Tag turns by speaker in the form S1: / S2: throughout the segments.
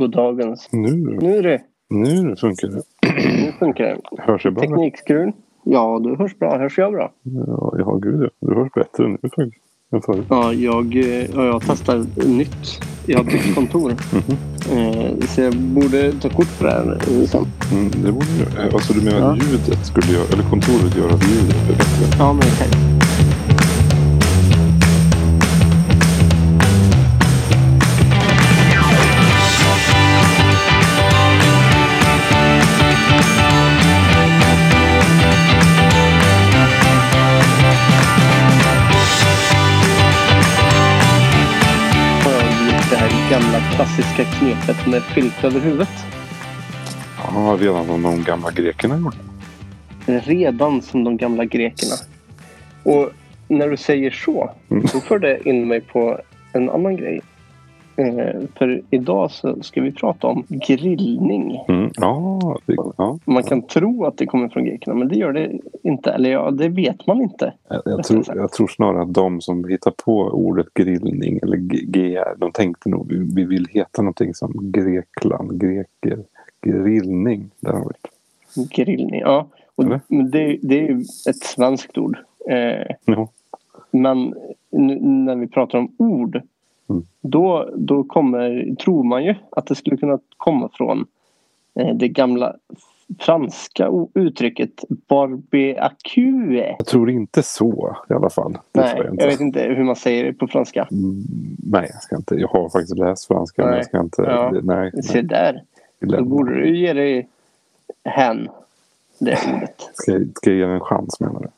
S1: Goddagens.
S2: Nu,
S1: Nu du,
S2: nu funkar det.
S1: nu funkar det.
S2: Hörs jag bra?
S1: Teknikskrun. Ja, du hörs bra. Hörs jag bra?
S2: Ja, ja, gud ja. Du hörs bättre nu faktiskt. Än förut.
S1: Ja, jag, eh, ja, jag testar nytt. Jag har bytt kontor. Eh, Så jag borde ta kort på det här eh, sen.
S2: Mm, det borde du. eh, Alltså du menar
S1: Ja.
S2: ljudet skulle göra, eller kontoret göra att ljudet blir bättre?
S1: Ja, men okej. Har jag gjort Det här gamla klassiska knepet med filt över huvudet.
S2: Ja, redan som de gamla grekerna gjorde.
S1: Redan som de gamla grekerna. Och när du säger så,
S2: Mm.
S1: då för det in mig på en annan grej. Eh, För idag så ska vi prata om grillning.
S2: Mm. Ja, det, ja.
S1: Man kan tro att det kommer från grekerna, men det gör det inte. Eller ja, det vet man inte.
S2: Jag, jag, tror, jag tror snarare att de som hittar på ordet grillning eller G- GR, de tänkte nog vi, vi vill heta någonting som Grekland, greker, grillning. Där har vi det.
S1: Grillning, ja. Och
S2: Eller?
S1: men det, det är ju ett svenskt ord. Eh,
S2: Ja.
S1: Men nu, när vi pratar om ord
S2: Mm.
S1: då, då kommer, tror man ju att det skulle kunna komma från eh, det gamla franska o- uttrycket barbeacue.
S2: Jag tror inte så i alla fall. Det
S1: Nej,
S2: tror
S1: jag vet inte hur man säger det på franska.
S2: Mm, Nej, jag ska inte. Jag har faktiskt läst franska. Men
S1: Nej.
S2: jag ska inte.
S1: Ja.
S2: det- Nej,
S1: Se
S2: nej.
S1: där,
S2: vi
S1: då
S2: lämnar.
S1: borde du ge dig hän, det ordet.
S2: Ska, jag- ska jag ge den en chans menar du?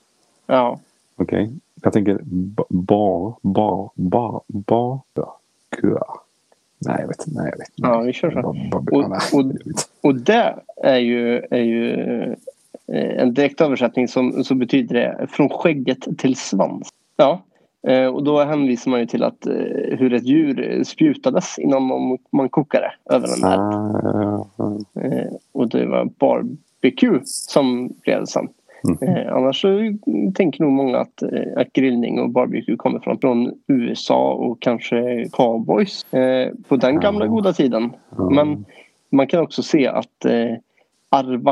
S1: Ja,
S2: Okej. Jag tänker ba, ba, ba, ba, ba, ba, kua. Nej, jag vet inte. Nej, jag vet inte.
S1: ja vi kör så.
S2: Ba- ba- ba-
S1: Och-
S2: nej,
S1: och-
S2: jag vet inte.
S1: Och det är ju, är ju eh, en direkt översättning som, som betyder det från skägget till svans. Ja, eh, och då hänvisar man ju till att eh, hur ett djur spjutades innan man, man kokade över den här.
S2: Ah, ja,
S1: Eh, Och det var barbecue som blev sen.
S2: Mhm.
S1: Eh, annars så tänker nog många att, eh, att grillning och barbecue kommer från, från USA och kanske cowboys eh, på den gamla
S2: Ja.
S1: goda tiden.
S2: Ah, ja.
S1: Men man kan också se att eh,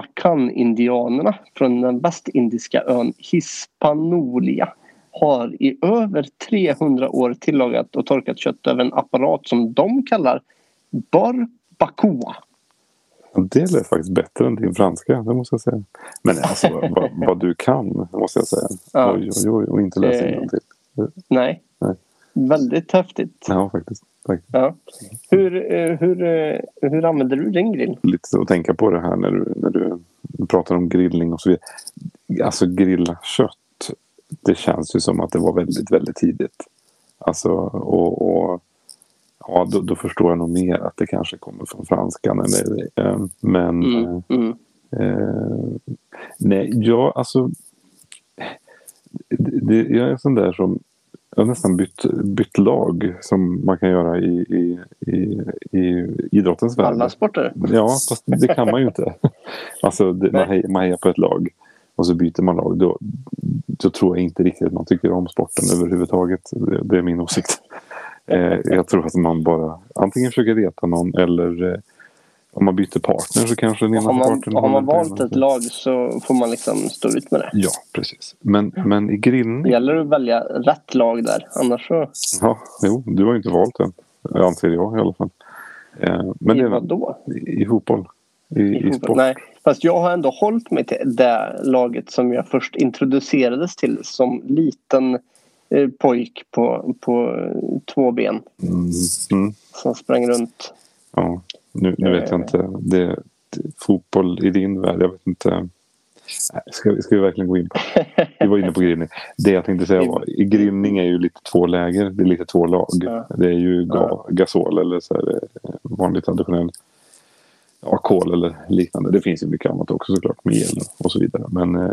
S1: Arvakan-indianerna från den västindiska ön Hispanolia har i över 300 år tillagat och torkat kött över en apparat som de kallar barbacoa.
S2: Det lät faktiskt bättre än din franska. Det måste jag säga. Men alltså vad, vad, vad du kan. Måste jag säga.
S1: Ja.
S2: Oj, oj, oj. Och inte läsa
S1: Eh.
S2: innantill.
S1: Nej.
S2: Nej.
S1: Väldigt häftigt.
S2: Ja, faktiskt. Tack.
S1: Ja. Hur, eh, hur, eh, hur använder du din grill?
S2: lite att tänka på det här när du, när du pratar om grillning och så vidare. Alltså grilla kött. Det känns ju som att det var väldigt, väldigt tidigt. Alltså och, och ja, då, då förstår jag nog mer att det kanske kommer från franskan. Eller, eh, men eh,
S1: Mm. Mm.
S2: Eh, nej, jag alltså... Det, det, jag är sån där som... Jag har nästan bytt, bytt lag som man kan göra i, i, i, i idrottens värld.
S1: Alla sporter?
S2: Ja, fast det kan man ju inte. Alltså, det,
S1: Nej.
S2: man, hejar, man hejar på ett lag och så byter man lag. Då, då tror jag inte riktigt att man tycker om sporten överhuvudtaget. Det, det är min åsikt. Eh, jag tror att man bara antingen försöker reta någon eller eh, om man byter partner så kanske den ena
S1: Har man,
S2: parten
S1: har man
S2: håller på
S1: valt
S2: ena.
S1: ett lag så får man liksom stå ut med det.
S2: Ja, precis. Men, men i grillning...
S1: Det gäller att välja rätt lag där. Annars så...
S2: Ja, jo, du har ju inte valt den. Anser jag i alla fall. Eh, men det
S1: I
S2: är väl
S1: vadå?
S2: i fotboll. I, i,
S1: I fotboll?
S2: sport.
S1: Mm. Nej, fast jag har ändå hållit mig till det laget som jag först introducerades till som liten eh, pojk på, på eh, två ben
S2: Mm, mm.
S1: som sprang runt.
S2: Ja, nu, nu vet jag
S1: Eh.
S2: inte. Det, det, fotboll i din värld, jag vet inte. Nej, Ska, vi- ska vi verkligen gå in på Vi var inne på grillning. Det jag tänkte säga var, i grillning är ju lite två läger. Det är lite två lag.
S1: Ja.
S2: Det är ju ga,
S1: Ja.
S2: gasol eller så här, eh, vanlig traditionell ja, kol eller liknande. Det finns ju mycket annat också såklart med el och så vidare. Men, eh,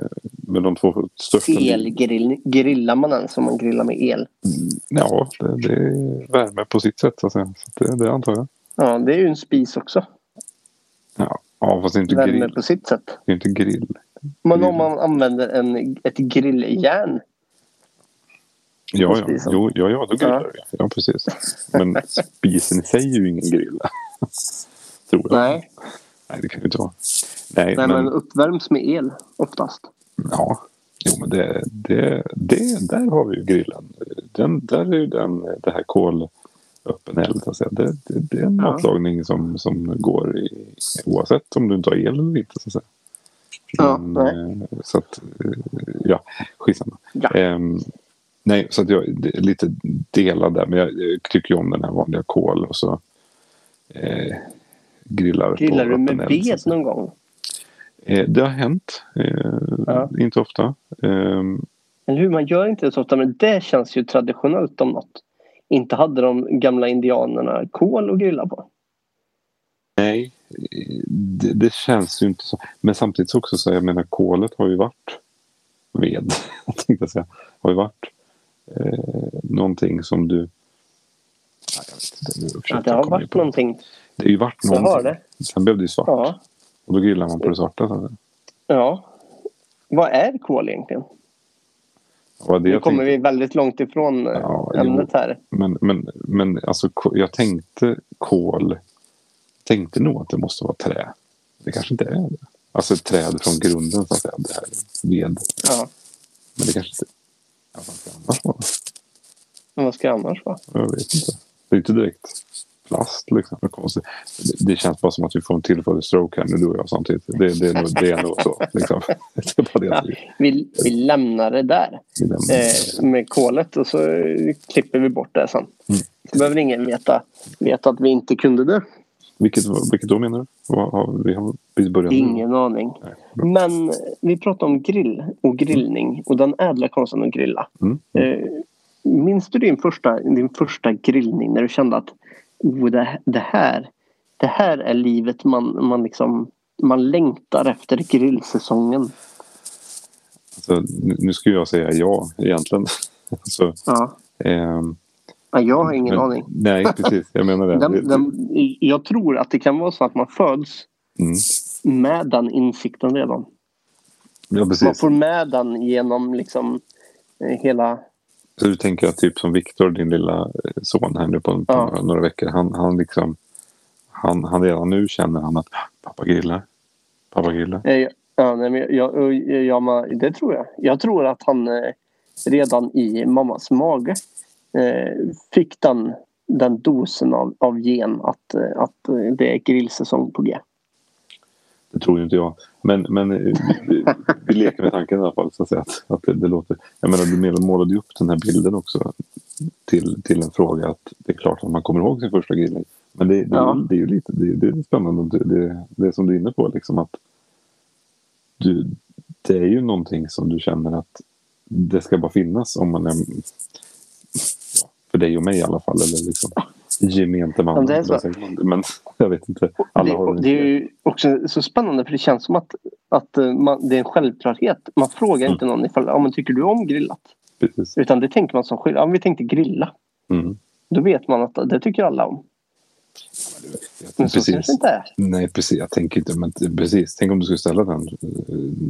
S2: men de två största...
S1: Elgrill, grillar man ens om man grillar med el?
S2: Mm, Ja, det, det är värme på sitt sätt så att säga. Så det, det antar jag.
S1: Ja, det är ju en spis också.
S2: Ja, ja fast det är inte
S1: Värme
S2: grill.
S1: på sitt sätt.
S2: Det är inte grill.
S1: Men om man använder en, ett grilljärn.
S2: Ja, ja.
S1: spisen.
S2: Jo, ja, ja, då grillar
S1: Ja.
S2: du. Ja, precis. Men spisen i sig är ju ingen grill. tror jag.
S1: Nej,
S2: Nej, det kan det inte vara. Nej,
S1: nej,
S2: men,
S1: men uppvärms med el oftast.
S2: ja. Jo, men det, det, det, där har vi ju grillen. Den, där är ju den, det här kol öppen eld. så att säga. Det, det, det är en
S1: Ja.
S2: matlagning som, som går i, oavsett om du inte har el eller inte. Så att säga.
S1: Ja,
S2: Men,
S1: nej.
S2: eh, så att, eh, ja, skitsamma.
S1: Ja.
S2: Ehm, nej, så att jag det är lite delad där. Men jag eh, tycker ju om den här vanliga kol och så eh, grillar på
S1: Grillar du
S2: öppen
S1: med
S2: eld, så att
S1: ved
S2: säga.
S1: någon gång?
S2: Eh, det har hänt. Eh,
S1: Ja.
S2: Inte ofta. Ehm,
S1: Men hur, man gör inte det så ofta. Men det känns ju traditionellt om något. Inte hade de gamla indianerna kol att grilla på.
S2: nej, eh, det, det känns ju inte så. Men samtidigt så också så, jag menar kolet har ju varit ved, tänkte jag säga. Har ju varit eh, någonting som du... Nej, jag vet inte. Nu försökte
S1: Ja, det
S2: jag
S1: har
S2: komma in
S1: varit
S2: på-
S1: någonting.
S2: Det har ju varit
S1: Det har
S2: någonting.
S1: det.
S2: Sen blev det ju svart.
S1: Ja.
S2: Och då grillar man på det svarta. Så.
S1: ja. Vad är kol egentligen?
S2: Det var det
S1: Nu
S2: jag
S1: kommer
S2: tänkte.
S1: vi väldigt långt ifrån eh,
S2: Ja, jo.
S1: ämnet här.
S2: Men, men, men alltså, ko- jag tänkte kol. Tänkte nog att det måste vara trä. Det kanske inte är det. Alltså ett träd från grunden så att säga. Det här ved.
S1: Ja.
S2: Men det kanske inte ja, vad ska
S1: Men vad ska det
S2: det annars vara?
S1: annars vara?
S2: Jag vet inte. Det är inte direkt plast liksom. Det, är konstigt. det, det känns bara som att vi får en tillfällig stroke här nu du och jag samtidigt. Det, det, är, nog, det är nog så. Liksom. Det är bara det
S1: Ja,
S2: jag vill-
S1: vi, vi lämnar det där
S2: vill nämna.
S1: eh, med kolet och så eh, klipper vi bort det sen.
S2: Mm.
S1: Så behöver ingen veta, veta att vi inte kunde det.
S2: Vilket, vilket då menar du? Vad har, vi har precis börjat nu.
S1: Ingen aning.
S2: Nej, bra.
S1: Men vi pratar om grill och grillning och den ädla konsten att grilla.
S2: Mm.
S1: Eh, Minns du din första, din första grillning när du kände att oh, det, det, här, det här är livet man, man, liksom, man längtar efter grillsäsongen?
S2: Så nu nu skulle jag säga ja egentligen. Så,
S1: Ja.
S2: ehm,
S1: Ja, jag har ingen
S2: men-
S1: aning.
S2: Nej, precis. Jag menar Mm. det.
S1: Den, den, jag tror att det kan vara så att man föds
S2: Mm.
S1: med den insikten redan.
S2: Ja,
S1: Man
S2: precis.
S1: får med den genom liksom eh, hela...
S2: Så du tänker att typ som Viktor, din lilla eh, son här nu på, på
S1: Ja.
S2: några, några veckor. Han, han liksom... Han, han redan nu känner han att "Ah, pappa grillar. Pappa grillar.
S1: eh, Ja, nej, men jag, jag, jag, jag, man- det tror jag. Jag tror att han eh, redan i mammas mage eh, fick den, den dosen av, av gen att, eh, att eh, det är grillsäsong på G.
S2: Det tror ju inte jag. Men, men eh, vi, vi, vi leker med tanken i alla fall. Så att, säga, att, att det, det låter... Jag menar, du menar- målade ju upp den här bilden också. Till, till en fråga att det är klart att man kommer ihåg sin första grillning. Men det, det,
S1: Ja.
S2: det är ju lite det, det är spännande. Det, det, det som du är inne på liksom att du, det är ju någonting som du känner att det ska bara finnas om man är ja, för dig och mig i alla fall. Eller liksom gemente man.
S1: Ja, det är så.
S2: Men jag vet inte. Alla har
S1: det, det är ju också så spännande för det känns som att, att eh, man, det är en självklarhet. Man frågar
S2: Mm.
S1: inte någon ifall ja, men tycker du om grillat.
S2: precis.
S1: Utan det tänker man som skillnad. Ja, men vi tänkte grilla.
S2: Mm.
S1: Då vet man att det tycker alla om. Men så kanske det inte är.
S2: Nej, precis. Jag tänker inte, men t- precis. Tänk om du skulle ställa den, eh,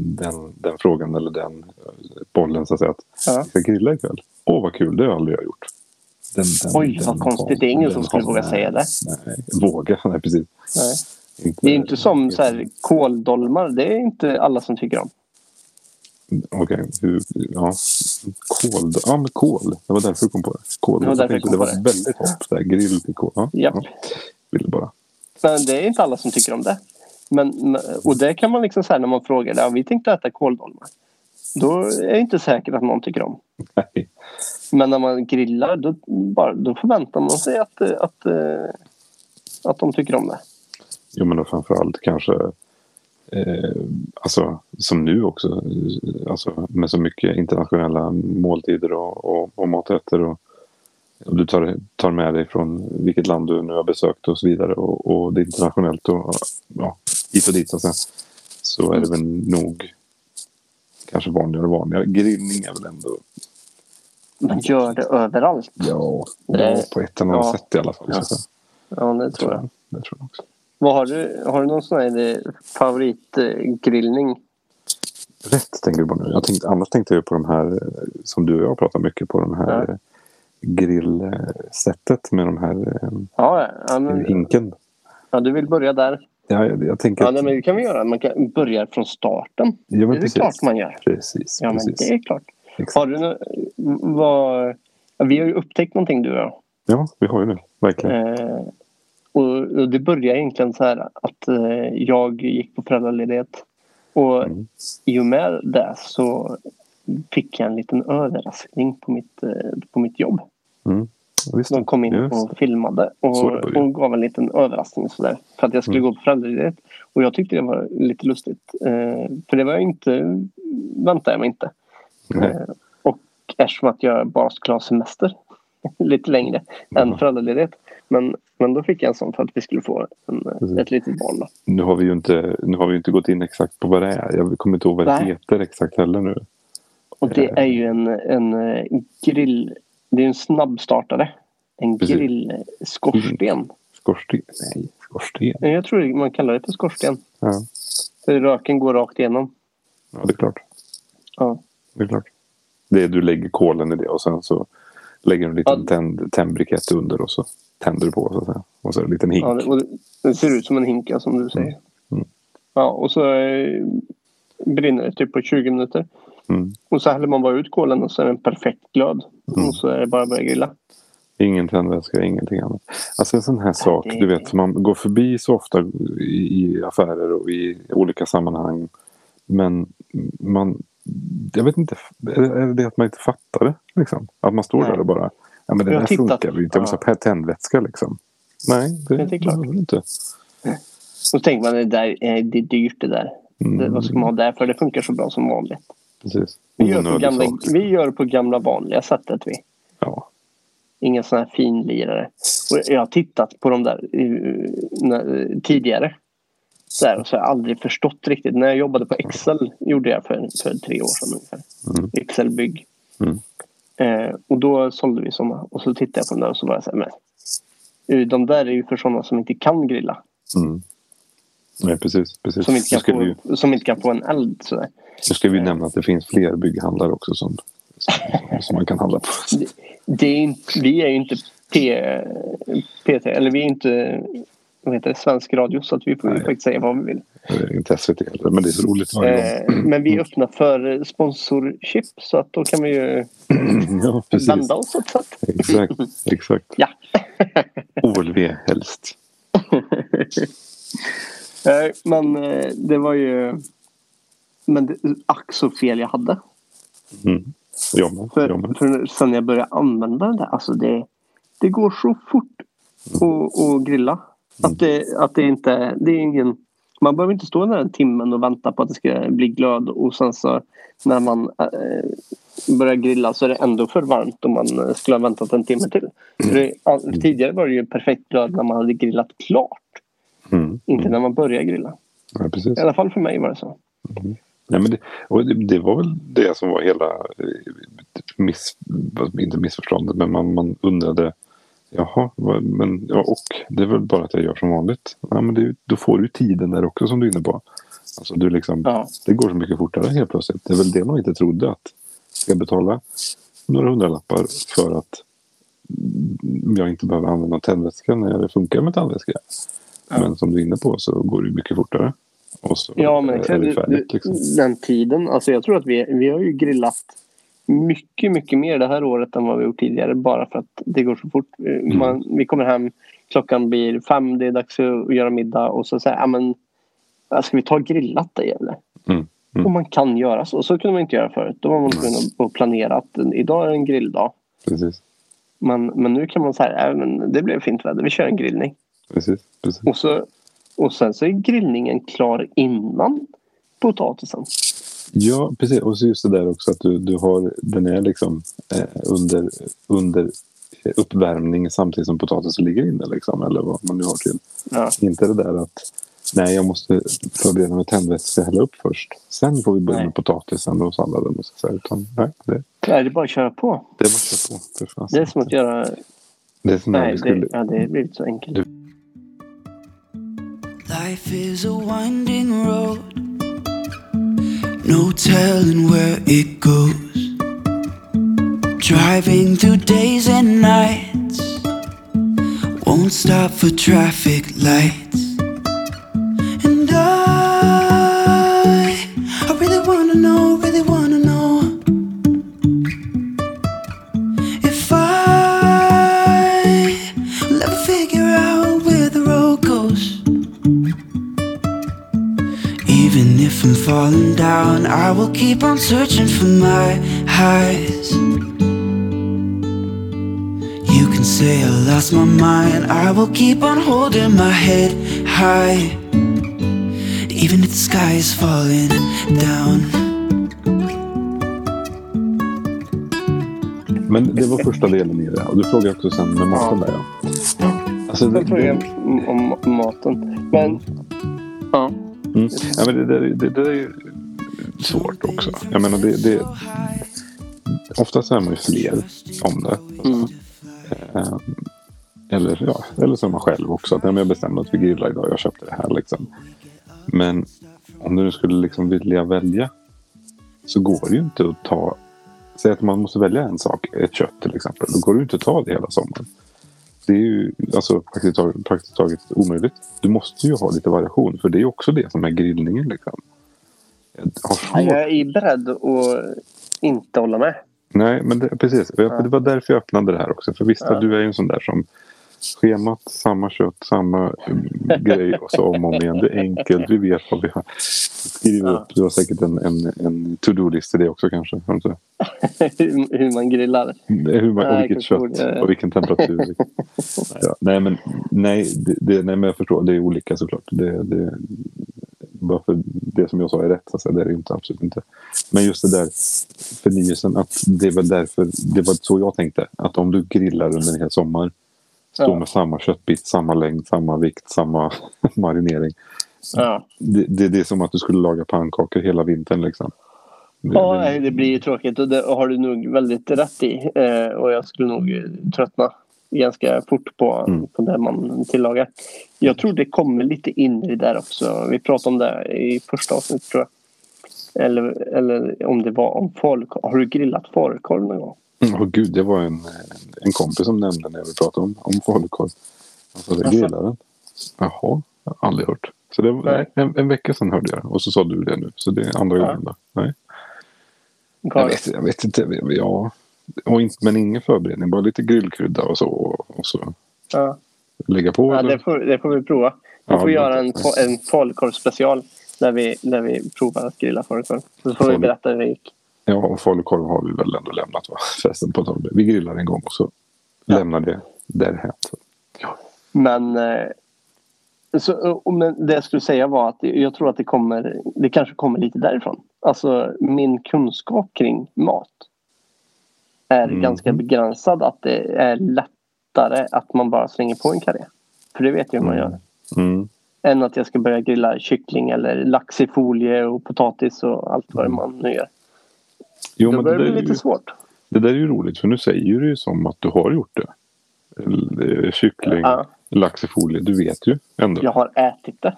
S2: den, den frågan eller den eh, bollen så att säga. Att
S1: Ja.
S2: vi ska grilla ikväll. Åh, vad kul. Det har jag aldrig jag gjort. Den, den,
S1: Oj, vad konstigt. Det är ingen
S2: den
S1: som skulle
S2: har-
S1: våga
S2: nej,
S1: säga det.
S2: Nej, våga. Nej, precis.
S1: Nej. Det är ju inte som så här, kåldolmar. Det är inte alla som tycker om.
S2: Okej, hur- ja. Kol. Ja, men kol. Det var därför du kom på det. Kol.
S1: Det var
S2: Jag
S1: därför jag
S2: tänkte
S1: kom
S2: det
S1: på
S2: var
S1: det.
S2: väldigt hopp. Där, grill till kol. Ja,
S1: Japp.
S2: ja. Ville bara.
S1: Men det är inte alla som tycker om det. Men, men- och det kan man liksom säga när man frågar. Ja, vi tänkte äta kåldolmar. Då är det inte säkert att någon tycker om.
S2: Nej.
S1: Men när man grillar då, bara, då förväntar man sig att, eh, att, eh, att de tycker om det.
S2: Jo men och framförallt kanske eh, alltså, som nu också eh, alltså, med så mycket internationella måltider och, och, och maträtter. Och, och du tar, tar med dig från vilket land du nu har besökt och så vidare och, och det är internationellt och ja, hit och dit. Alltså, så är det väl nog kanske vanligare och vanligare. Grillning är väl ändå
S1: Man gör det överallt.
S2: ja,
S1: Det-
S2: på ett eller annat
S1: ja.
S2: sätt i alla fall.
S1: Ja,
S2: så, att
S1: Ja, det tror jag.
S2: säga. det tror jag också.
S1: Vad har du? Har du någon sån här eh, favoritgrillning?
S2: rätt tänker du på nu. Jag tänkte, annars tänkte jag på de här eh, som du och jag pratar mycket på. De här
S1: Ja.
S2: ja. grillsättet med de här eh, Mm.
S1: Ja, ja, ja, men,
S2: hinken.
S1: Ja, du vill börja där.
S2: Ja, jag, jag tänker
S1: Ja,
S2: att...
S1: nej, men det kan vi göra. Man kan börja från starten.
S2: ja, men
S1: Det är
S2: precis.
S1: klart man gör.
S2: Precis,
S1: Ja, men
S2: precis.
S1: det är klart.
S2: Exakt.
S1: Har du nå- vad... ja, Vi har ju upptäckt någonting du och jag.
S2: Ja, vi har ju det. Verkligen.
S1: Eh, och, och det började egentligen så här att eh, jag gick på föräldraledighet. Och
S2: Mm.
S1: i och med det så fick jag en liten överraskning på mitt, eh, på mitt jobb.
S2: Visst.
S1: De kom in
S2: Just det.
S1: och filmade och,
S2: Så det Mm. började.
S1: och gav en liten överraskning sådär. För att jag skulle gå på föräldraledighet. Och jag tyckte det var lite lustigt. Eh, för det var jag inte, väntade jag mig inte.
S2: Nej.
S1: Eh, och eftersom att jag bara skulle ha semester lite längre än
S2: Mhm.
S1: föräldraledighet. Men, men då fick jag en sån för att vi skulle få en,
S2: Precis.
S1: ett litet barn. Då.
S2: Nu har vi ju inte, nu har vi ju inte gått in exakt på vad det är. Jag kommer inte ihåg vad det
S1: Nej.
S2: heter exakt heller nu.
S1: Och det är ju en, en eh, grill... Det är ju en snabbstartare. En
S2: Precis.
S1: grillskorsten.
S2: Skorsten? Nej, skorsten.
S1: Jag tror man kallar det för skorsten.
S2: Ja,
S1: För röken går rakt igenom.
S2: ja det är klart.
S1: Ja.
S2: Det är klart. Det är, du lägger kolen i det och sen så lägger du en liten
S1: Ja.
S2: tänd, tändbrikett under och så tänder du på. Så att säga. Och så en liten hink.
S1: Ja, det- och det, det ser ut som en hink, ja, som du säger.
S2: Mm.
S1: Ja, och så eh, brinner det typ på 20 minuter.
S2: Mm.
S1: Och så häller man bara ut kolen och så är den perfekt glöd.
S2: Mm.
S1: Och så är det bara att börja grilla.
S2: Ingen tändvätska, ingenting annat. Alltså en sån här sak,
S1: det-
S2: du vet, som man går förbi så ofta i, i affärer och i olika sammanhang. Men man, jag vet inte, är det, är det det att man inte fattar det? Liksom? Att man står
S1: Nej.
S2: där och bara, ja men det
S1: Jag har
S2: där
S1: tittat.
S2: funkar ju inte, jag måste ha tändvätska liksom. Nej, det,
S1: Ja, det är klart.
S2: behöver du inte.
S1: Och så tänker man det där eh, det är dyrt det där.
S2: Mm.
S1: Det, vad ska man ha där för? Det funkar så bra som vanligt.
S2: Precis.
S1: Vi gör, på
S2: Onödig
S1: gamla,
S2: sak, liksom.
S1: vi gör på gamla vanliga sättet vi.
S2: Ja.
S1: Inga sådana här finlirare. Och jag har tittat på de där eh, när, tidigare. Så här, och så har jag aldrig förstått riktigt. När jag jobbade på Excel gjorde jag för, för tre år sedan ungefär.
S2: Mm.
S1: Excelbygg.
S2: Mm.
S1: Eh, och då sålde vi sådana. Och så tittade jag på den där och så var jag så här, men, eh, de där är ju för sådana som inte kan grilla.
S2: Mm. Nej, precis. precis.
S1: Som inte
S2: Nu
S1: kan,
S2: ska vi ju-
S1: få, som inte kan få en eld. Så där.
S2: Nu ska vi nämna att det finns fler bygghandlare också som, som, som man kan handla på.
S1: Det är inte, vi är ju inte P, PT, eller vi är inte vad heter det, svensk radio så att vi får ju
S2: Nej.
S1: faktiskt säga vad vi vill.
S2: Eh, Inte SVT heller, men det är Mm. så roligt varje gång.
S1: Eh, men vi är öppna för sponsorship så att då kan vi ju
S2: Ja, precis.
S1: vända oss åt så att,
S2: Exakt. exakt.
S1: Ja.
S2: OLV helst.
S1: eh, Men eh, det var ju men det, ack så fel jag hade.
S2: Mm. Ja, men,
S1: För,
S2: ja, men.
S1: för sen jag började använda den där, alltså det, det går så fort
S2: Mm.
S1: att, att grilla. Att det, att det inte, det är ingen, man behöver inte stå den här timmen och vänta på att det ska bli glöd och sen så när man eh, börjar grilla så är det ändå för varmt om man eh, skulle ha väntat en timme till. För det,
S2: Mm.
S1: all- tidigare var det ju perfekt glöd när man hade grillat klart,
S2: Mm.
S1: inte när man började grilla.
S2: Ja, precis.
S1: I alla fall för mig var det så.
S2: Nej, men det, och det, det var väl det som var hela, eh, miss, inte missförståndet, men man, man undrade Jaha, vad- men, ja, och det är väl bara att jag gör som vanligt. Ja, men det, är ju- då får du ju tiden där också som du är inne på. Alltså, du liksom,
S1: Ja.
S2: Det går så mycket fortare helt plötsligt. Det är väl det man inte trodde att ska jag betala några hundralappar för att mm, jag inte behöver använda tändvätska när det funkar med tändvätska. Men som du är inne på så går det ju mycket fortare. Och så
S1: Ja, men
S2: är
S1: exakt.
S2: det färdigt
S1: Det-
S2: liksom.
S1: Den tiden. Alltså jag tror att vi, vi har ju grillat mycket, mycket mer det här året än vad vi gjort tidigare. Bara för att det går så fort. Eh,
S2: Mm.
S1: Man, vi kommer hem, klockan blir fem, det är dags att göra middag och så säger jag, "Ja, men ja, ska vi ta grillat det eller?
S2: Mm, mm.
S1: Och man kan göra så. Så kunde man inte göra förut. Då var man tvungen att- att planera att eh, idag är en grilldag.
S2: Precis,
S1: Men, men nu kan man säga, "Ja, men det blev fint väder, vi kör en grillning.
S2: precis, precis.
S1: Och, så, och sen så är grillningen klar innan potatisen.
S2: Ja, precis. Och så just det där också att du, du har, den är liksom eh, under, under eh, uppvärmning samtidigt som potatisen ligger inne liksom. Eller vad man nu har till.
S1: Ja.
S2: Inte det där att nej, jag måste förbereda med tändvätska hälla upp först. Sen får vi börja
S1: Nej.
S2: med potatisen och salladen och så där. Utan, nej, det,
S1: Nej, det är bara att köra på.
S2: det är bara att köra på. För fan.
S1: Det är som att göra...
S2: det är som när vi
S1: Nej,
S2: skulle...
S1: det, ja, det har blivit så enkelt.
S3: Life is a winding road, no telling where it goes. Driving through days and nights, won't stop for traffic lights. falling down. I will keep on searching for my highs. You can say I lost my mind. I will keep on holding my head high. Even if the sky is falling down.
S2: Men det var första delen i det. Och du frågade också sen med maten där. Ja. Alltså, det,
S1: Jag frågar
S2: det,
S1: om- om maten. Men ja,
S2: mm. ja, men det, där, är- det, det där är ju svårt också. Jag menar, det, det, oftast är man ju fler om det. Eh, Eller, ja, eller så är man själv också. Att, ja, men jag bestämde att vi grillar idag. Jag köpte det här liksom. Men om du nu skulle liksom vilja välja. Så går det ju inte att ta. Säg att man måste välja en sak. Ett kött till exempel. Då går det ju inte att ta det hela sommaren. Det är ju alltså, praktiskt, taget, praktiskt taget omöjligt. Du måste ju ha lite variation. För det är ju också det som är grillningen. Liksom. Jag har svårt-
S1: jag är beredd att inte hålla med.
S2: Nej, men det, precis. Och jag-
S1: Ja.
S2: Det var därför jag öppnade det här också. För visst,
S1: Ja.
S2: du är ju en sån där som schemat, samma kött, samma mm, grej och så om och om igen. Det är enkelt. Vi vet vad vi har skrivit
S1: Ja.
S2: upp. Du har säkert en, en, en to-do-lista i det också kanske. Har du inte?
S1: hur, hur man grillar.
S2: Det är Hur man, och
S1: Nej,
S2: vilket
S1: kanske borde
S2: kött
S1: jag-
S2: och vilken temperatur. ja, nej, men, nej, det, det, nej, men jag förstår. Det är olika såklart. Det, det, bara för det som jag sa är rätt, så att säga, det är det ju inte, absolut inte. Men just det där förnyelsen, att det var därför, det var så jag tänkte. Att om du grillar under en hel sommar, står
S1: Ja.
S2: med samma köttbit, samma längd, samma vikt, samma marinering.
S1: Ja,
S2: Det, det, det är som att du skulle laga pannkakor hela vintern liksom.
S1: ja
S2: Mm.
S1: nej, det blir ju tråkigt och det har du nog väldigt rätt i. Eh, och jag skulle nog eh, tröttna ganska fort på,
S2: Mm.
S1: på det man tillagar. Jag tror det kommer lite in i det där också. Vi pratade om det i första avsnittet tror jag. Eller, eller om det var om falukorv. Har du grillat falukorv någon gång?
S2: Mm, Åh gud, det var en, eh, en kompis som nämnde när vi pratade om, om falukorv. Han sa det
S1: Jaså?
S2: grillar den. Jaha, jag har aldrig hört. Så det var,
S1: Nej.
S2: en, en vecka sedan hörde jag det. och så sa du det nu. Så det är andra
S1: Ja.
S2: gången då. Nej. Jag,
S1: Karl?
S2: vet, jag vet inte. jag- Ja. Och inte, men ingen förberedning, bara lite grillkrydda och så. Och, och så
S1: Ja.
S2: lägga på.
S1: Ja,
S2: eller?
S1: det, får, det får vi prova. Vi
S2: Ja,
S1: får
S2: det
S1: göra
S2: låter
S1: en,
S2: bra.
S1: en falukorvsspecial där vi, där vi provar att grilla falukorv. Så får vi
S2: Falu-
S1: berätta hur det gick.
S2: Ja, och falukorv har vi väl ändå lämnat va? Förresten på tal. Vi grillar en gång och så lämnar det därhän. Så.
S1: Men, eh, så, och- men det jag skulle säga var att jag tror att det kommer, det kanske kommer lite därifrån. Alltså min kunskap kring mat är
S2: Mhm.
S1: ganska begränsad. Att det är lättare att man bara slänger på en karré. För det vet jag hur man gör.
S2: Mm.
S1: Än att jag ska börja grilla kyckling eller lax i folie och potatis och allt vad man nu gör.
S2: Jo,
S1: Då
S2: Mm. men det
S1: börjar
S2: där
S1: det bli
S2: är ju-
S1: lite svårt.
S2: Det där är ju roligt för nu säger du ju som att du har gjort det. L- eh, Kyckling,
S1: Ja.
S2: lax i folie. Du vet ju ändå.
S1: Jag har ätit det.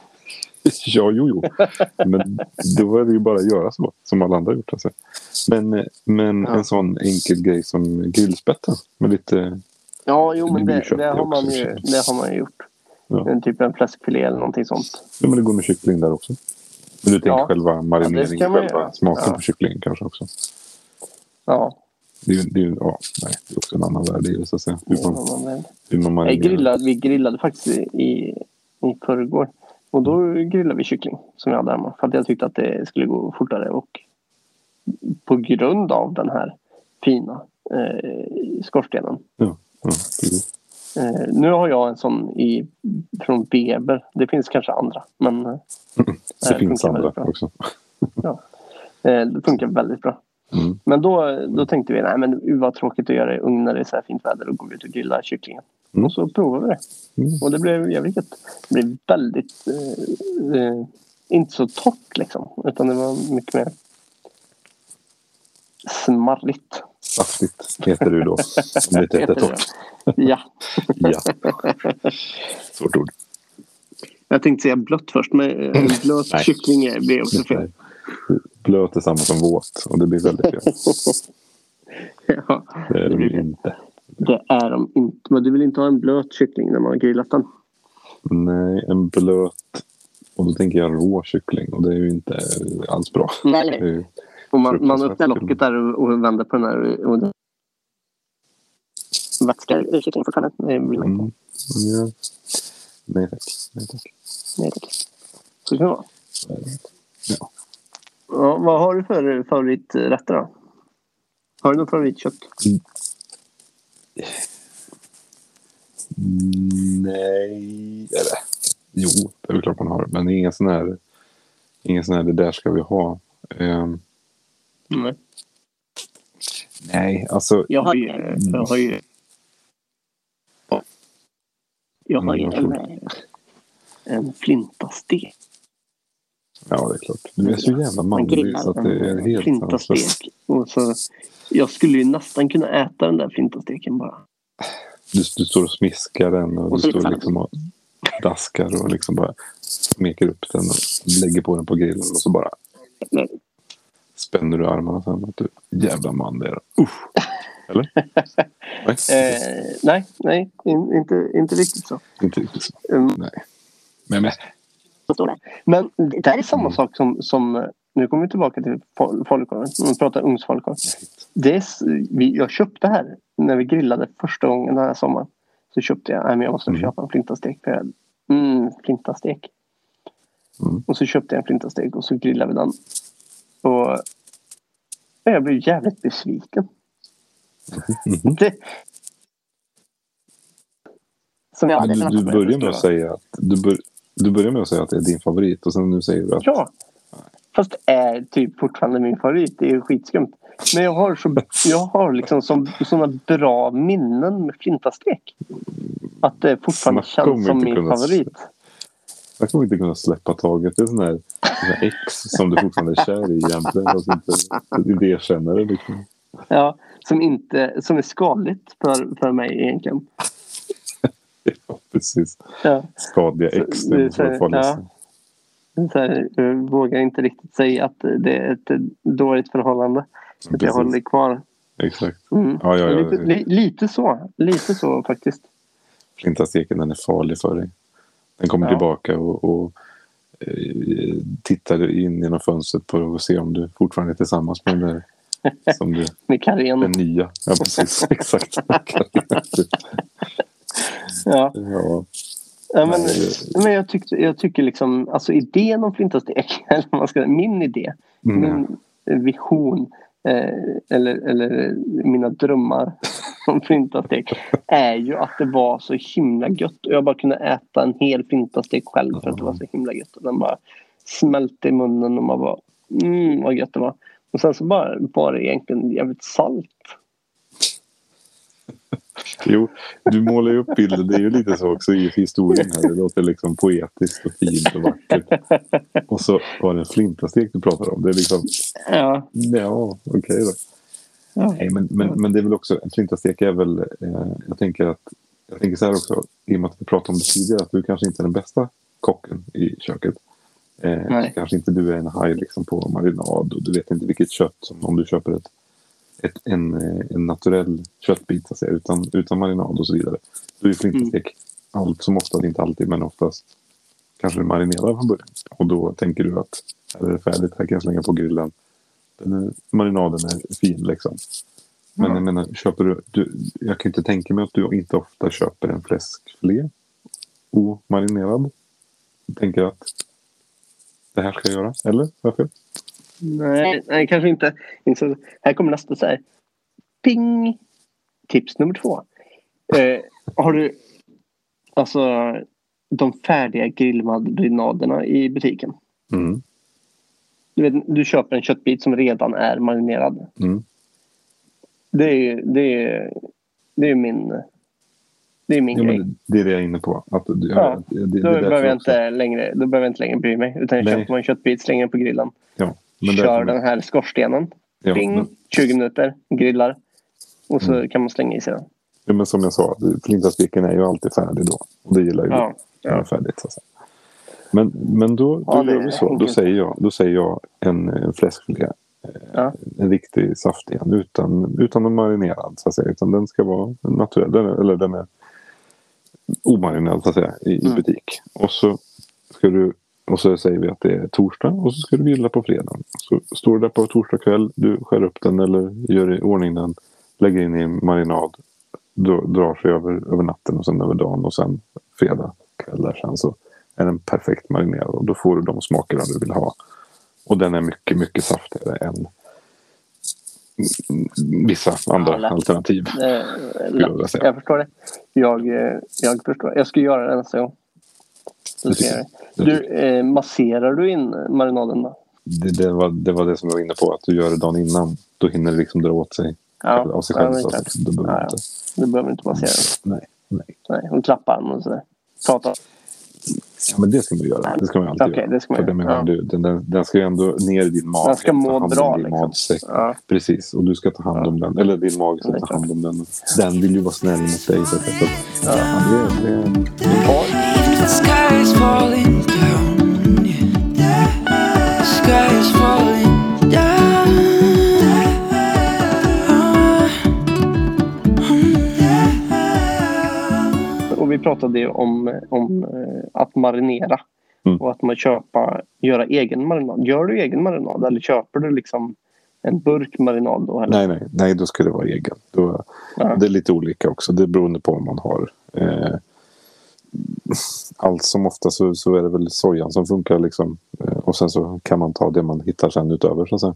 S2: ja jo, jo. Men då är det ju bara att göra så. Som alla andra har gjort. Alltså. Men, eh, men
S1: Ja.
S2: en sån enkel grej som grillspetten. Med lite...
S1: Ja, jo, men
S2: Det blir
S1: det,
S2: kött
S1: det, har,
S2: också,
S1: man ju,
S2: kött.
S1: det har man ju gjort.
S2: Ja.
S1: En typ en fläskfilé eller någonting sånt.
S2: Ja, men det går med kyckling där också. Men du tänker
S1: Ja.
S2: själva marineringen,
S1: ska man
S2: själva
S1: göra.
S2: smaken
S1: Ja.
S2: på kycklingen kanske också.
S1: Ja,
S2: Det är ju, det är ju ja, nej, det är också en annan värld i det så att säga. Hur man,
S1: vad man vill.
S2: hur man
S1: Nej,
S2: marinerar.
S1: grillade, vi grillade faktiskt i, i, i förrgår. Och då grillade vi kyckling som jag hade hemma. För att jag tyckte att det skulle gå fortare. Och på grund av den här fina eh, skorstenen.
S2: Ja, ja, precis.
S1: Eh, nu har jag en sån i, från Weber. Det finns kanske andra. Men eh,
S2: det
S1: det
S2: finns
S1: funkar
S2: andra
S1: väldigt bra.
S2: också.
S1: ja, eh, det funkar väldigt bra.
S2: Mm.
S1: Men då, då tänkte vi, nej men vad tråkigt att göra i ugn när det är så här fint väder. Då går vi ut och grillar kycklingen.
S2: Mm.
S1: Och så provade vi det.
S2: Mm.
S1: Och det blev jävligt gött. Det blev väldigt... Eh, eh, inte så torrt liksom. Utan det var mycket mer smarrigt.
S2: Saftigt heter du då. Om det inte heter
S1: Heter det.
S2: torrt.
S1: Ja.
S2: Ja. Svårt ord.
S1: Jag tänkte säga blött först men eh, en
S2: Nej.
S1: blöt kyckling är- blir också fel.
S2: Blöt är samma som våt och det blir väldigt fel.
S1: Ja,
S2: Det är
S1: det, blir
S2: de
S1: fel.
S2: inte.
S1: det är de inte. Men du vill inte ha en blöt kyckling när man har grillat den.
S2: Nej, en blöt och då tänker jag rå kyckling och det är ju inte alls bra.
S1: Nej.
S2: Det är ju-
S1: Och man, man öppnar
S2: Fruktansvärt.
S1: locket där och, och vänder på den här och, och den vätskar i kycklingen fortfarande. Det blir man inte.
S2: Mm. Ja. Nej tack. Nej, tack.
S1: Nej, tack. Så kan det vara.
S2: Ja.
S1: Ja, vad har du för favoriträtter då? Har du något favoritkött?
S2: Nej. Eller, jo, det är väl klart man har. Men det är ingen sån här... Ingen sån här det där ska vi ha. Ehm,
S1: Nej.
S2: nej, alltså...
S1: Jag har ju... Jag har ju... Jag har ju
S2: Mm.
S1: en, en flintastek.
S2: Ja, det är klart. Du är så jävla
S1: Man
S2: manlig
S1: grillar
S2: så att det är
S1: en
S2: helt sanslöst.
S1: flintastek. Och så, jag skulle ju nästan kunna äta den där flintasteken bara.
S2: Du, du står och smiskar den och,
S1: Och
S2: du står
S1: flippar.
S2: liksom och daskar och liksom bara smeker upp den och lägger på den på grillen och så bara
S1: Nej.
S2: spänner du armarna sen. Att du, jävla man det är. Usch! Eller? Nej,
S1: Eh, nej, nej in, inte, inte riktigt så.
S2: inte riktigt så.
S1: Mm.
S2: Nej. Men, men
S1: Men det där är samma sak som, som eh, nu kommer vi tillbaka till fal- falukorven. Om vi pratar ugnsfalukorv. Det är, s- vi, jag köpte här när vi grillade första gången den här sommaren. Så köpte jag, nej men jag måste
S2: Mm.
S1: köpa en flintastek. För jag, mm, flintastek.
S2: Mm.
S1: Och så köpte jag en flintastek och så grillade vi den. Och jag blev jävligt besviken.
S2: Mhm.
S1: Det, som jag
S2: Men
S1: hade
S2: du, du
S1: väntat mig
S2: börjar med
S1: förstår jag.
S2: att säga att du, bör, du börjar med att säga att det är din favorit och sen nu säger du att
S1: Ja. Fast det är typ fortfarande min favorit. Det är ju skitskumt. Men jag har, så, jag har liksom som, såna bra minnen med flintastek. Att det fortfarande
S2: Snacka om
S1: känns som
S2: inte
S1: min
S2: kunna-
S1: favorit.
S2: jag kommer inte kunna släppa taget. Det är sån där, sån där ex som du fortfarande är kär i egentligen. Fast inte, inte erkänner det liksom.
S1: Ja, som, inte, som är skadligt för, för mig egentligen.
S2: Ja, precis.
S1: Ja,
S2: Skadliga ex.
S1: Det
S2: Det
S1: är
S2: måste vara
S1: så-
S2: farligaste.
S1: så här, jag vågar inte riktigt säga att det är ett dåligt förhållande. Att jag
S2: Precis.
S1: håller kvar.
S2: Exakt.
S1: Mm.
S2: Ja, ja, ja.
S1: Lite, li, lite så. Lite så faktiskt.
S2: Flintasteken den är farlig för dig. Den kommer
S1: Ja.
S2: tillbaka och, och eh, tittar in genom fönstret på och ser om du fortfarande är tillsammans med den där. Som du,
S1: Med
S2: den
S1: Karen.
S2: nya. Ja, precis. Exakt.
S1: Ja.
S2: ja.
S1: Ja, men,
S2: Nej,
S1: men jag, tyckte, jag tycker liksom, alltså idén om flintastek, eller vad man ska, min idé,
S2: Mm.
S1: min vision eh, eller, eller mina drömmar om flintastek är ju att det var så himla gött och jag bara kunde äta en hel flintastek själv för att det var så himla gött och den bara smälte i munnen och man bara mm vad gött det var. Och sen så bara var det egentligen jävligt salt.
S2: Jo, du målar ju upp bilden. Det är ju lite så också i historien här. Det låter liksom poetiskt och fint och vackert. Och så var det en flintastek du pratade om. Det är liksom,
S1: Ja,
S2: ja, okej då.
S1: ja.
S2: Nej, men, men, men det är väl också, en flintastek är väl, eh, jag tänker att, jag tänker så här också, i och med att vi pratade om det tidigare, att du kanske inte är den bästa kocken i köket. Eh,
S1: Nej.
S2: kanske inte du är en haj liksom på marinad och du vet inte vilket kött som om du köper ett, ett, en, eh, en naturell köttbit så att säga, utan, utan marinad och så vidare. Då är
S1: Mm.
S2: flintastek allt som oftast, inte alltid, men oftast kanske du marinerar från början. Och då tänker du att här är det färdigt, här kan jag slänga på grillen. Den är, marinaden är fin liksom. Men
S1: Ja.
S2: jag menar, köper du, du... Jag kan ju inte tänka mig att du inte ofta köper en fläskfilé omarinerad. Och tänker att det här ska jag göra, eller? Varför?
S1: Nej, nej kanske inte. inte. så- Här kommer nästa så här. Ping! Tips nummer två. Eh, har du alltså de färdiga grillmarinaderna i butiken?
S2: Mm.
S1: Du, vet, du köper en köttbit som redan är marinerad.
S2: Mm.
S1: Det är ju det är, det är min, det är min
S2: Ja,
S1: grej.
S2: men det är det jag är inne på. Att, ja,
S1: Ja,
S2: det, det,
S1: Då
S2: är därför
S1: behöver, jag
S2: också-
S1: inte längre, då behöver jag inte längre bry mig. Utan jag
S2: Nej.
S1: köper en köttbit, slänger den på grillen.
S2: Ja, men
S1: kör
S2: därför-
S1: den här skorstenen.
S2: Ja,
S1: Ping!
S2: men-
S1: 20 minuter, grillar. Och så
S2: Mm.
S1: kan man slänga i sig den.
S2: Ja, men som jag sa, flintasteken är ju alltid färdig då. Och det gillar ju
S1: Ja,
S2: Den är färdigt. Så att säga. Men, men då, då
S1: Ja, det
S2: gör
S1: är
S2: vi så. Då
S1: enkelt.
S2: säger jag, då säger jag en, en fläskfilé. Eh,
S1: Ja.
S2: En riktig saftig en utan, utan en marinerad. Så att säga. Utan den ska vara naturell. Den, är- eller den är omarinerad så att säga, i, i
S1: Mm.
S2: butik. Och så, ska du, och så säger vi att det är torsdag och så ska du grilla på fredagen. Så står du där på torsdag kväll. Du skär upp den eller gör i ordning den. Lägger in i marinad dr- drar sig över, över natten och sen över dagen och sen fredag kväll där sen så är den perfekt marinerad och då får du de smakerna du vill ha. Och den är mycket, mycket saftigare än vissa andra
S1: Ja, lätt.
S2: alternativ.
S1: Eh,
S2: jag vilja säga.
S1: jag förstår det. Jag, eh, jag förstår. Jag ska göra det nästa gång. Då
S2: Det
S1: ska jag
S2: tycker
S1: göra det. Du, eh, masserar du in marinaden då?
S2: Det, det, var, det var det som jag var inne på, att du gör det dagen innan. Då hinner det liksom dra åt sig av sig själv.
S1: det, är
S2: så
S1: klart.
S2: att då behöver
S1: Ja,
S2: man
S1: ja.
S2: inte.
S1: det behöver inte massera.
S2: Nej, nej.
S1: Nej, och klappa honom och sådär. Prata.
S2: Ja, men det ska man ju göra. Det ska man ju alltid
S1: Okej,
S2: göra.
S1: det ska man
S2: För det
S1: göra.
S2: menar
S1: Ja.
S2: du, den, den, den ska ju ändå ner i din mage.
S1: Den ska må
S2: ta hand om
S1: bra,
S2: Din
S1: liksom.
S2: magsäck.
S1: Ja.
S2: Precis, och du ska ta hand om den. Eller din mage
S1: Det
S2: ska
S1: är
S2: ta
S1: klart.
S2: hand om den. Den vill ju vara snäll mot dig. Så att, så att, ja. det, det,
S3: Even if the sky is falling down, yeah. sky is falling down. Uh-huh. Mm-hmm.
S1: Och vi pratade ju om, om eh, att marinera.
S2: Mm.
S1: Och att man köpa, göra egen marinad. Gör du egen marinad eller köper du liksom en burk marinad då? Eller?
S2: nej, nej, nej, då ska det vara egen. Då,
S1: Ja.
S2: Det är lite olika också. Det är beroende på vad man har. Eh, allt som ofta så, så är det väl sojan som funkar. Liksom. Eh, och sen så kan man ta det man hittar sen utöver. Så att säga.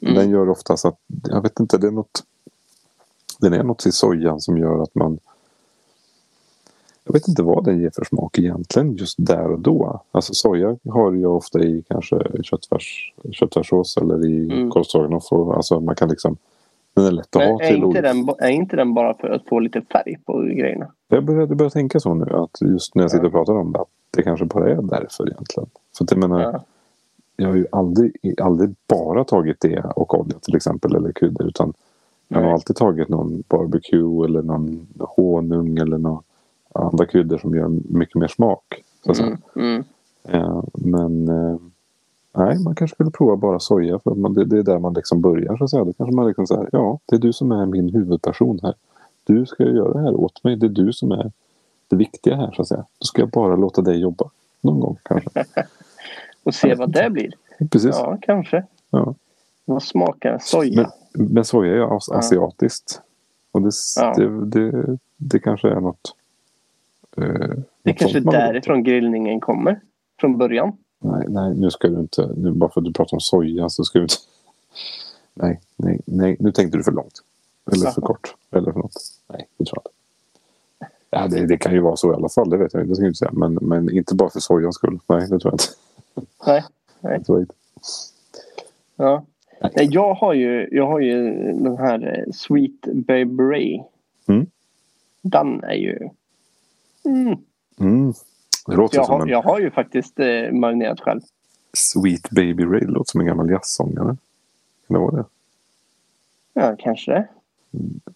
S1: Mm.
S2: Den gör ofta så att, jag vet inte, det är något. Den är något i sojan som gör att man jag vet inte vad den ger för smak egentligen just där och då. Alltså soja har jag ofta i kanske köttfärs, köttfärssås eller i
S1: Mm.
S2: mm. korvstroganoff. och- Alltså man kan liksom... Den är lätt att
S1: Men
S2: ha
S1: är,
S2: till
S1: inte
S2: olika
S1: den, ba- är inte den bara för att få lite färg på grejerna?
S2: jag börjar, jag börjar tänka så nu, att just när jag sitter och pratar om det, att det kanske bara är därför egentligen. För att jag menar,
S1: Ja.
S2: jag har ju aldrig, aldrig bara tagit det och olja till exempel, eller kryddor, utan jag har
S1: Nej.
S2: alltid tagit någon barbecue eller någon honung eller några andra kryddor som gör mycket mer smak. Så att säga.
S1: Mm, mm.
S2: Eh, men eh, nej, man kanske skulle prova bara soja, för man, det, det är där man liksom börjar. Så att säga. Då kanske man liksom säger, ja, det är du som är min huvudperson här. Du ska ju göra det här åt mig. Det är du som är det viktiga här, så att säga. Då ska jag bara låta dig jobba. Någon gång kanske.
S1: Och se vad det blir.
S2: Precis.
S1: Ja, kanske.
S2: Ja.
S1: Vad smakar soja?
S2: Men, men soja är ju as- asiatiskt. Och det, s-
S1: Ja.
S2: det, det, det kanske är något... eh,
S1: det är
S2: något
S1: kanske
S2: sånt man vill
S1: därifrån grillningen kommer. Från början.
S2: Nej, nej, nu ska du inte... Nu, bara för att du pratar om soja så ska du inte... Nej, nej, nej. Nu tänkte du för långt. Eller för
S1: Jaha.
S2: kort. Eller för något. Nej, det tror jag inte. Ja, det, det kan ju vara så i alla fall. Det vet jag inte. Det ska jag inte säga. Men, men inte bara för sojans skull. Nej, det tror jag inte.
S1: Nej.
S2: Det tror jag inte.
S1: Ja. Nej, Jag har ju, jag har ju den här eh, Sweet Babe Ray.
S2: Mm.
S1: Den är ju... Mm.
S2: Mm. Det låter
S1: Jag,
S2: som
S1: har,
S2: en...
S1: jag har ju faktiskt eh, marinerat själv.
S2: Sweet Baby Ray. Det låter som en gammal jazzsångare. Kan det vara det?
S1: Ja, kanske det.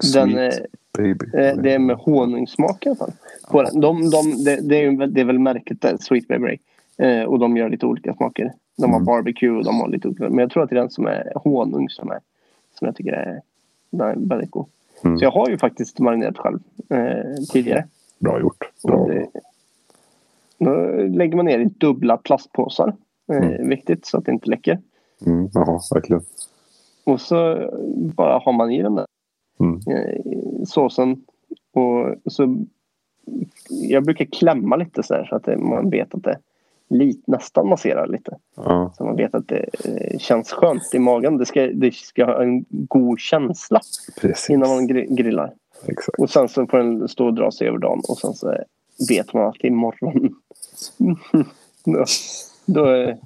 S2: Sweet
S1: Den, eh,
S2: Baby
S1: eh,
S2: Ray.
S1: det är med honungssmak i alla fall. På den. De, de, det, det, är ju, väl- det är väl märket där, Sweet Babe Ray. Eh, och de gör lite olika smaker. De har
S2: Mm.
S1: barbecue och de har lite olika. Men jag tror att det är den som är honung som, är, som jag tycker är, den är väldigt god.
S2: Mm.
S1: Så jag har ju faktiskt marinerat själv eh, tidigare.
S2: Bra gjort. Bra.
S1: Och det- Då lägger man ner i dubbla plastpåsar. Eh, Viktigt så att det inte läcker.
S2: Mm, jaha, verkligen.
S1: Och så bara har man i den där
S2: Mm.
S1: eh, såsen. Och så, jag brukar klämma lite så, här, så att det, man vet att det lite, nästan masserar lite.
S2: Ja.
S1: Så man vet att det eh, känns skönt i magen. Det ska, det ska ha en god känsla
S2: Precis.
S1: innan man gri- grillar.
S2: Exakt.
S1: Och sen så får den stå och dra sig över dagen och sen så vet man att imorgon då, då, är-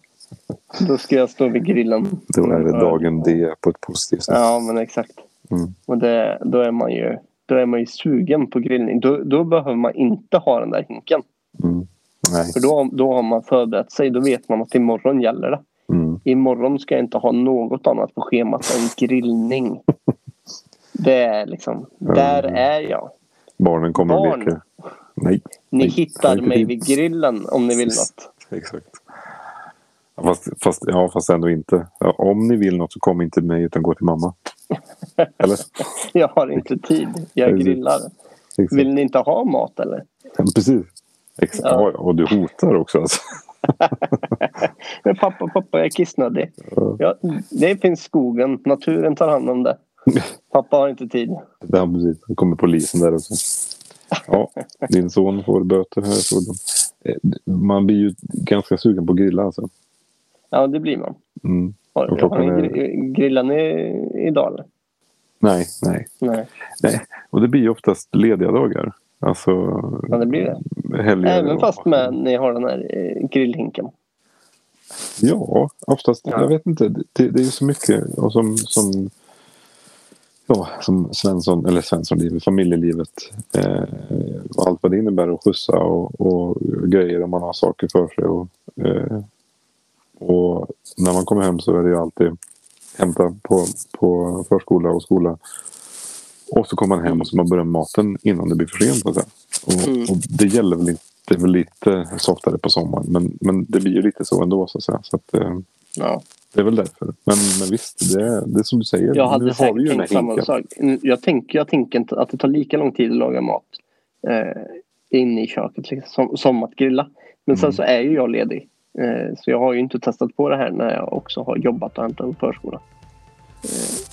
S1: då ska jag stå vid grillen.
S2: Då är det dagen D på ett positivt sätt.
S1: Mm. Ja men exakt.
S2: Mm.
S1: Och det, då är man ju då är man ju sugen på grillning. Då, då behöver man inte ha den där hinken.
S2: Mm. Nej.
S1: För då, då har man förberett sig. Då vet man att imorgon gäller det.
S2: Mm.
S1: Imorgon ska jag inte ha något annat på schemat än grillning. Det är liksom, där är jag.
S2: Barnen kommer
S1: Barn.
S2: och leker. Nej.
S1: Ni
S2: Nej.
S1: hittar
S2: Nej,
S1: mig
S2: precis.
S1: vid grillen om ni vill något.
S2: Exakt. Ja, Fast, fast, ja, fast ändå inte. Ja, om ni vill något så kom inte till mig utan gå till mamma. Eller?
S1: Jag har inte tid. Jag
S2: Precis.
S1: grillar.
S2: Exakt.
S1: Vill ni inte ha mat eller?
S2: Ja, precis. Exakt.
S1: Ja.
S2: Ja. ja, och du hotar också alltså.
S1: Men pappa, pappa, jag är kissnödig. Ja, det finns skogen. Naturen tar hand om det. Pappa har inte tid.
S2: Ja, precis. Då kommer polisen där också. Ja, din son får böter här. får de. Eh, Man blir ju ganska sugen på att grilla alltså.
S1: Ja, det blir man.
S2: Mm.
S1: Har,
S2: Och klockan
S1: har ni
S2: är-
S1: gri- grillar ni idag eller?
S2: Nej, nej,
S1: Nej,
S2: nej. Och det blir ju oftast lediga dagar. Alltså
S1: ja, det blir det.
S2: helger.
S1: Även
S2: och-
S1: fast med, ni har den här eh, grillhinken.
S2: Ja, oftast.
S1: Ja.
S2: Jag vet inte. Det, det är ju så mycket och som, som, ja, som Svensson, eller Svenssonlivet, familjelivet eh, och allt vad det innebär att skjutsa och, och grejer om man har saker för sig. Och, eh, och när man kommer hem så är det ju alltid hämta på, på förskola och skola. Och så kommer man hem och så man börjar med maten innan det blir för sent. så att säga. Och,
S1: Mm.
S2: och det gäller väl inte det är väl lite softare på sommaren men, men det blir ju lite så ändå så att säga. Så att, eh,
S1: Ja.
S2: det är väl därför. Men, men visst, det är, det är som du säger.
S1: Jag hade
S2: nu har vi
S1: säkert
S2: ju den
S1: tänkt
S2: här
S1: samma
S2: hinken.
S1: sak. Jag tänker, jag tänker inte att det tar lika lång tid att laga mat eh, inne i köket liksom, som, som att grilla. Men sen
S2: Mm.
S1: så är ju jag ledig. Eh, så jag har ju inte testat på det här när jag också har jobbat och hämtat på förskolan. Eh,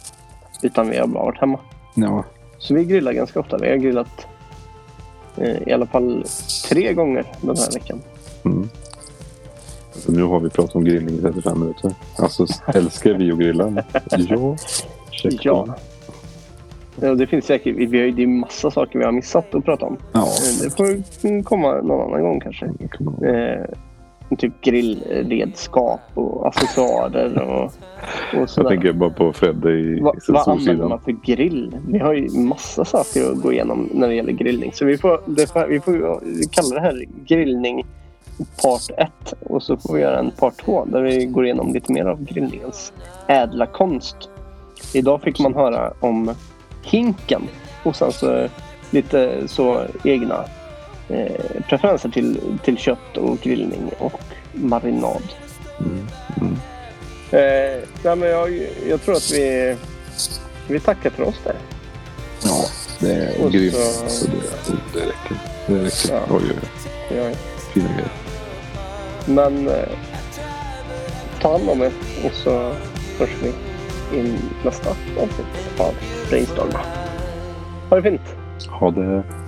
S1: utan vi har bara varit hemma.
S2: Ja.
S1: Så vi grillar ganska ofta. Vi har grillat eh, i alla fall tre gånger den här veckan.
S2: Mm. Så nu har vi pratat om grillning i 35 minuter. Alltså älskar vi att grilla? Ja. Check
S1: Ja.
S2: på.
S1: Ja, Det finns säkert, vi har ju, det är massa saker vi har missat att prata om.
S2: ja.
S1: Eh, Det får komma någon annan gång kanske.
S2: det kan man-
S1: eh, typ grillredskap och accessoarer och, och
S2: Jag
S1: sådär.
S2: tänker bara på Fredde i
S1: Va,
S2: i
S1: vad använder
S2: Solsidan.
S1: man för grill? Vi har ju massa saker att gå igenom när det gäller grillning. Så vi får, det får, vi får ju kalla det här grillning part 1 och så får vi göra en part 2 där vi går igenom lite mer av grillningens ädla konst. Idag fick man höra om hinken och sen så lite så egna eh, preferenser till, till kött och grillning och marinad.
S2: Mm.
S1: Eh, nej, men jag, jag tror att vi, vi tackar för oss där.
S2: Ja, det är
S1: Och
S2: grymt.
S1: så-
S2: Så det, oh, det räcker. Det räcker.
S1: Ja.
S2: Oj, oj, oj.
S1: Ja.
S2: Fina grejer.
S1: Men eh, ta hand om er och så hörs vi i nästa avsnitt av Brainstorm. Ha det fint!
S2: Ha det.